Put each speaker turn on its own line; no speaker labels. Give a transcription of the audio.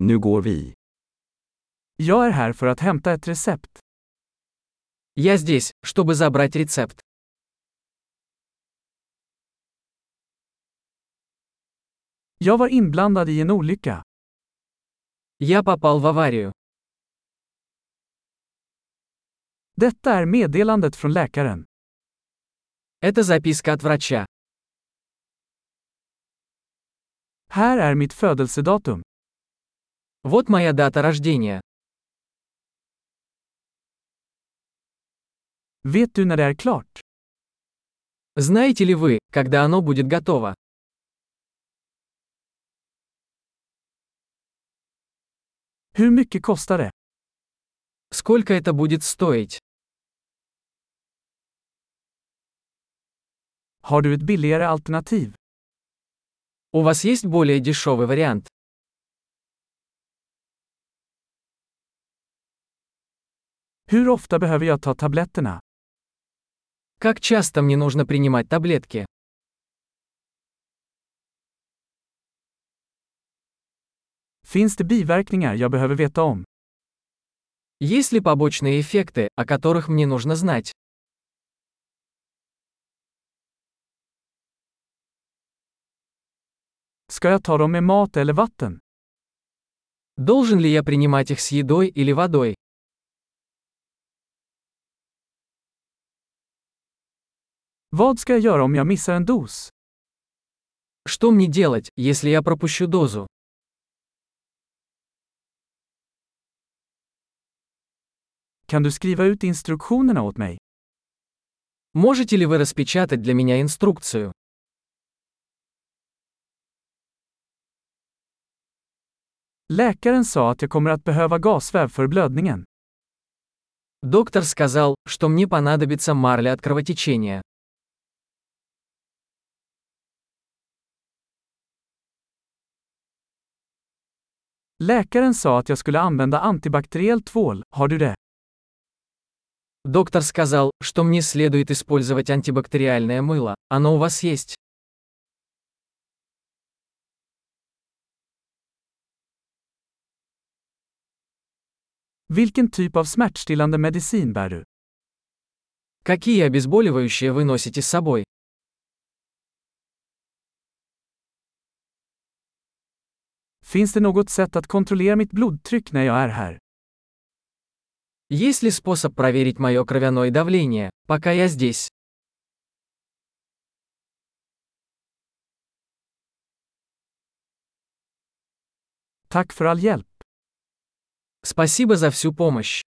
Nu går vi.
Jag är här för att hämta ett recept.
Я здесь, чтобы забрать рецепт.
Jag var inblandad i en olycka.
Я попал в аварию.
Detta är meddelandet från läkaren.
Это записка от врача.
Här är mitt födelsedatum.
Вот моя дата рождения.
Vet du när det är klart?
Знаете ли вы, когда оно будет готово?
Hur mycket kostar det?
Сколько это будет стоить?
Har du ett billigare alternativ?
У вас есть более дешевый вариант?
Hur ofta behöver jag ta tabletterna?
Как часто мне нужно принимать таблетки?
Finns det biverkningar jag behöver veta om?
Есть ли побочные эффекты, о которых мне нужно знать?
Ska jag ta dem med mat eller vatten?
Должен ли я принимать их с едой или водой?
Vad ska jag göra om jag missar en dos?
Что мне делать, если я пропущу дозу?
Kan du skriva ut instruktionerna åt mig?
Можете ли вы распечатать для меня инструкцию?
Läkaren sa att jag kommer att behöva gasväv för blödningen.
Доктор сказал, что мне понадобится марля от кровотечения.
Läkaren sa att jag skulle använda antibakteriell tvål, har du det?
Доктор сказал, что мне следует использовать антибактериальное мыло. Оно у вас есть?
Vilken typ av smärtstillande medicin bär du?
Какие обезболивающие вы носите с собой?
Finns det något sätt att kontrollera mitt blodtryck när jag är här?
Есть ли способ проверить мое кровяное давление, пока я здесь?
Tack för all hjälp.
Спасибо за всю помощь.